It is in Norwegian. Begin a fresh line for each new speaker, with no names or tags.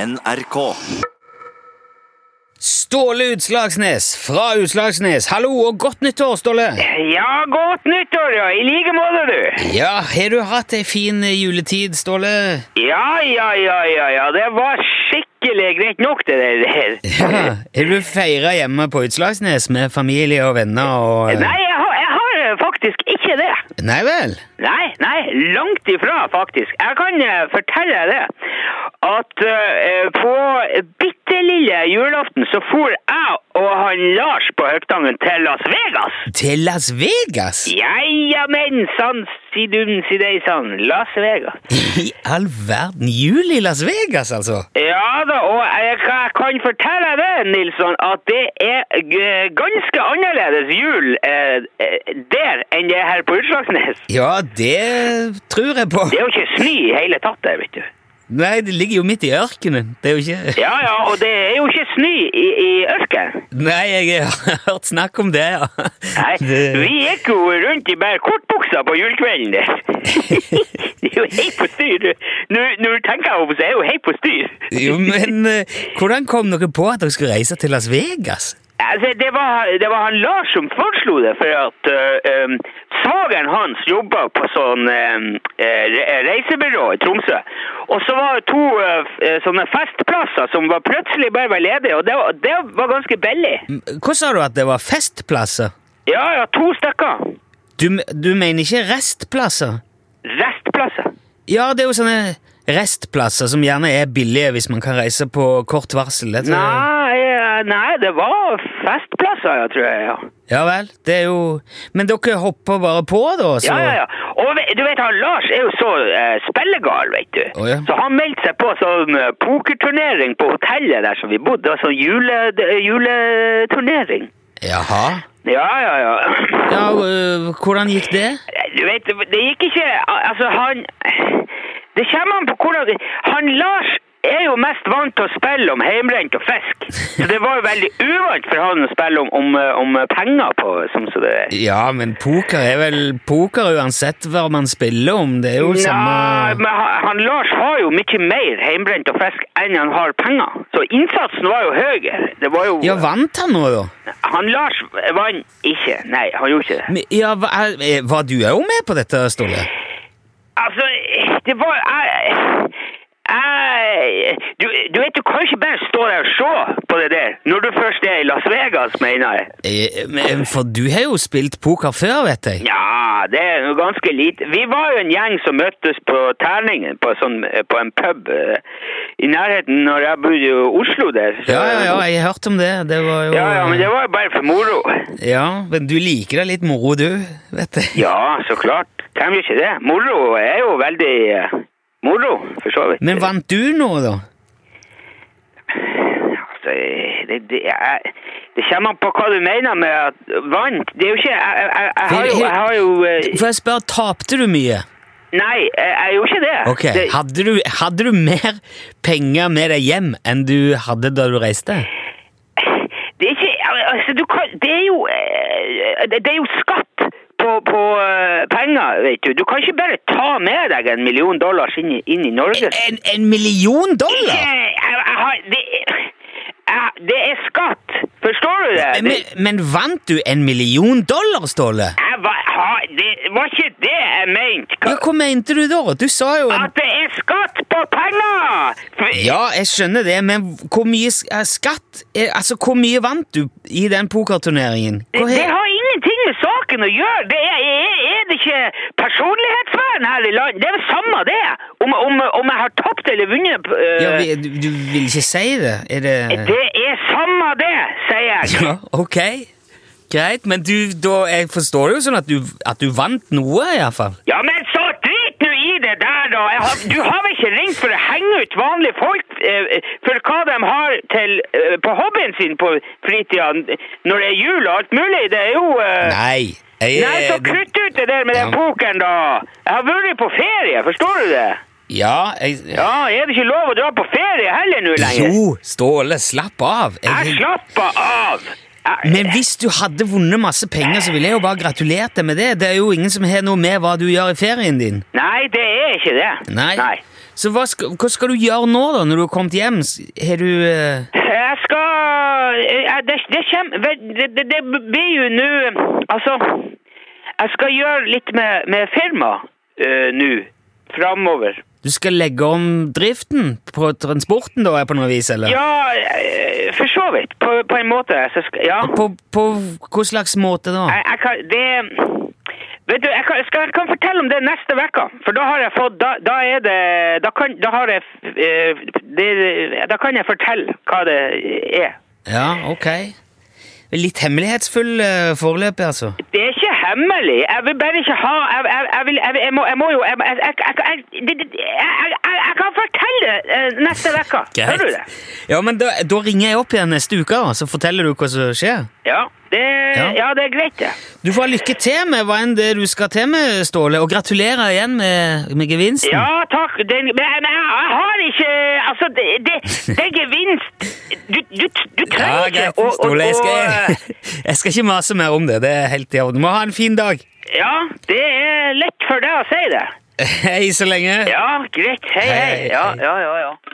NRK.
Ståle Utslagsnes fra Utslagsnes. Hallo og godt nyttår, Ståle!
Ja, godt nyttår, ja. I like måte, du.
Ja, har du hatt ei fin eh, juletid, Ståle?
Ja, ja, ja, ja, ja. Det var skikkelig greit nok, det der.
Ja. Har du feira hjemme på Utslagsnes med familie og venner og eh,
Nei, jeg har, jeg har faktisk ikke det.
Nei vel?
Nei, nei, langt ifra, faktisk. Jeg kan eh, fortelle deg det. At eh, på bitte lille julaften så for jeg og han Lars på Høgtangen til Las Vegas.
Til Las Vegas?
Ja, ja, men sann, si dum, si deg sann. Las Vegas.
I all verden! Jul i Las Vegas, altså?
Ja da, og jeg, ka- kan fortelle deg det, Nilsson, at det er g- ganske annerledes jul eh, eh, der enn det er her på Utslagsnes.
Ja, det tror jeg på.
Det er jo ikke snø i hele tatt der, vet du.
Nei, det ligger jo midt i ørkenen. Det er jo ikke
Ja ja, og det er jo ikke snø i, i ørkenen.
Nei, jeg har hørt snakk om det, ja.
Nei,
Det-
vi gikk jo rundt i bare kortbuksa på julekvelden der. det er jo helt på styr. Nå, når du tenker over det, så er det jo helt på styr.
Jo, men eh, hvordan kom dere på at dere skulle reise til Las Vegas?
Altså, det var, det var han Lars som foreslo det, for at uh, um, svageren hans jobba på sånn um, eh, re- reisebyrå i Tromsø. Og så var det to eh, f- eh, sånne festplasser som var plutselig bare var ledige, og det var, det var ganske billig.
M- Hva sa du at det var festplasser?
Ja, ja, to stykker.
Du, m- du mener ikke restplasser?
Restplasser.
Ja, det er jo sånne restplasser som gjerne er billige hvis man kan reise på kort varsel. Det tror jeg.
Nei, eh, nei, det var festplasser, ja, tror jeg. ja.
Ja vel, det er jo... Men dere hopper bare på da, så...
Ja, ja, ja. Og ve- du vet, han Lars er jo så eh, spillegal, vet du.
Å, ja.
Så han meldte seg på sånn eh, pokerturnering på hotellet der som vi bodde. Det var sånn jule, d- juleturnering.
Jaha.
Ja, ja, ja.
Ja, øh, hvordan gikk det?
Du vet, det gikk ikke al- Altså, han Det kommer an på hvordan Han Lars er jo mest vant til å spille om heimbrent og fisk. Så det var jo veldig uvant for han å spille om, om, eh, om penger på, som så det
Ja, men poker er vel poker uansett hva man spiller om. Det er jo
Nei,
samme...
men han, han Lars har jo mye mer heimbrent og fisk enn han har penger. Så innsatsen var jo høyere. Det var jo
Ja, vant han nå da?
Han Lars vant ikke. Nei, han gjorde ikke det.
Men- Ja, hva- er- var du jo med på dette, Ståle?
Altså, det var jeg, jeg, du, du vet, du kan ikke bare stå der og se på det der når du først er i Las Vegas, mener jeg.
Eh, men- For du har jo spilt poker før, vet jeg.
Ja, det er jo ganske lite. Vi var jo en gjeng som møttes på Terningen, på, sånn, på en pub eh, i nærheten når jeg bodde i Oslo der. Så-
Ja, ja, ja, jeg har hørt om det. Det var jo
Ja, ja, men det var jo bare for moro.
Ja, men du liker deg litt moro, du, vet jeg.
Ja, så klart. Hvem gjør ikke det? Moro er jo veldig eh, moro, for så vidt.
Men vant du nå, da?
Altså, det, det, jeg, det kommer an på hva du mener med at vant. Det er jo ikke Jeg, jeg, jeg, jeg har jo, jeg har jo eh,
Får jeg spørre, tapte du mye?
Nei, jeg, jeg gjorde ikke det.
Ok,
det
hadde du, hadde du mer penger med deg hjem enn du hadde da du reiste?
det er ikke altså, du kan, Det er jo eh, Det det er jo skatt på, på eh, penger, vet du. Du kan ikke bare ta med deg en million dollars inn i, inn i Norge.
En, en million
Ikke
dollar?!
jeg, jeg har, det, jeg, det er skatt. Forstår du det?
Men,
det
men vant du en million dollar, Ståle?
jeg var, har- det var ikke det jeg mente.
Ja, hva mente du da? Du sa jo en
At det er skatt på penger! For,
Ja, jeg skjønner det, men hvor mye sk- eh, skatt eh, Altså, hvor mye vant du i den pokerturneringen?
det,
Hvor
det
he-
har ingenting med saken å gjøre. Det er, er, er det ikke personlighetsvern her i landet? Det er det samme, det. Om, om, om jeg har tapt eller vunnet øh,
Ja, vi, du, du vil ikke si det? Er det
Det er samme, det, sier jeg.
Ja, ok. Greit, men du, da, jeg forstår det jo sånn at du, at du vant noe, iallfall.
Ja, men så drit nå i det der, da! Jeg har, du har vel ikke ringt for å henge ut vanlige folk eh, for hva de har til, eh, på hobbyen sin på fritida når det er jul og alt mulig? Det er jo eh,
Nei. Jeg,
Nei, så kutt ut det der med
Ja.
den pokeren, da! Jeg har vært på ferie, forstår du det?
Ja, jeg
Ja, er det ikke lov å dra på ferie heller nå lenger?
Jo, Ståle, slapp av.
Jeg slapper av! Jeg-
men hvis du hadde vunnet masse penger, så ville jeg jo bare gratulert deg med det. Det er jo ingen som har noe med hva du gjør i ferien din.
Nei, det er ikke det.
Nei. Så hva skal, hva skal du gjøre nå, da, når du har kommet hjem? S- Har du eh,
Jeg skal jeg- Det, det kommer det, det, det blir jo nå Altså, jeg skal gjøre litt med, med firma eh, nå. Framover.
Du skal legge om driften på transporten, da, på noe vis, eller?
Ja, eh, for så vidt. På, på en måte. Så skal, ja.
På, på hva slags måte, da?
Jeg, jeg kan, det Vet du, jeg kan, skal, jeg kan fortelle om det neste uke. For da har jeg fått Da, da er det Da kan, da har jeg, eh, det, da kan jeg fortelle hva det er.
Ja, ok. Litt hemmelighetsfull eh, foreløpig, altså.
Det er ikke hemmelig. Jeg vil bare ikke ha Jeg, jeg, jeg, vil, jeg, jeg, må, jeg må jo Jeg, jeg, jeg, jeg, jeg, det- det- jeg, jeg- jeg, jeg kan fortelle det eh, neste uke. Hører du det?
Ja, men da, da ringer jeg opp igjen neste uke, da, så forteller du hva som skjer.
Ja. Det,
Ja.
ja. det er greit, det.
Du får ha lykke til med hva enn det du skal til med, Ståle, og gratulerer igjen med, med gevinsten.
Ja, takk. Den, men jeg, jeg har ikke Altså, det, det, det er gevinst. Du, du, du trenger
Ja,
ikke
greit, Ståle. Jeg skal, jeg skal ikke mase mer om det. Det er helt i orden. Du må ha en fin dag.
Ja, det er lett for deg å si det.
Hei så lenge.
Ja, greit. Hei, hei.
Hei,
Ja,
hei.
ja, ja. ja.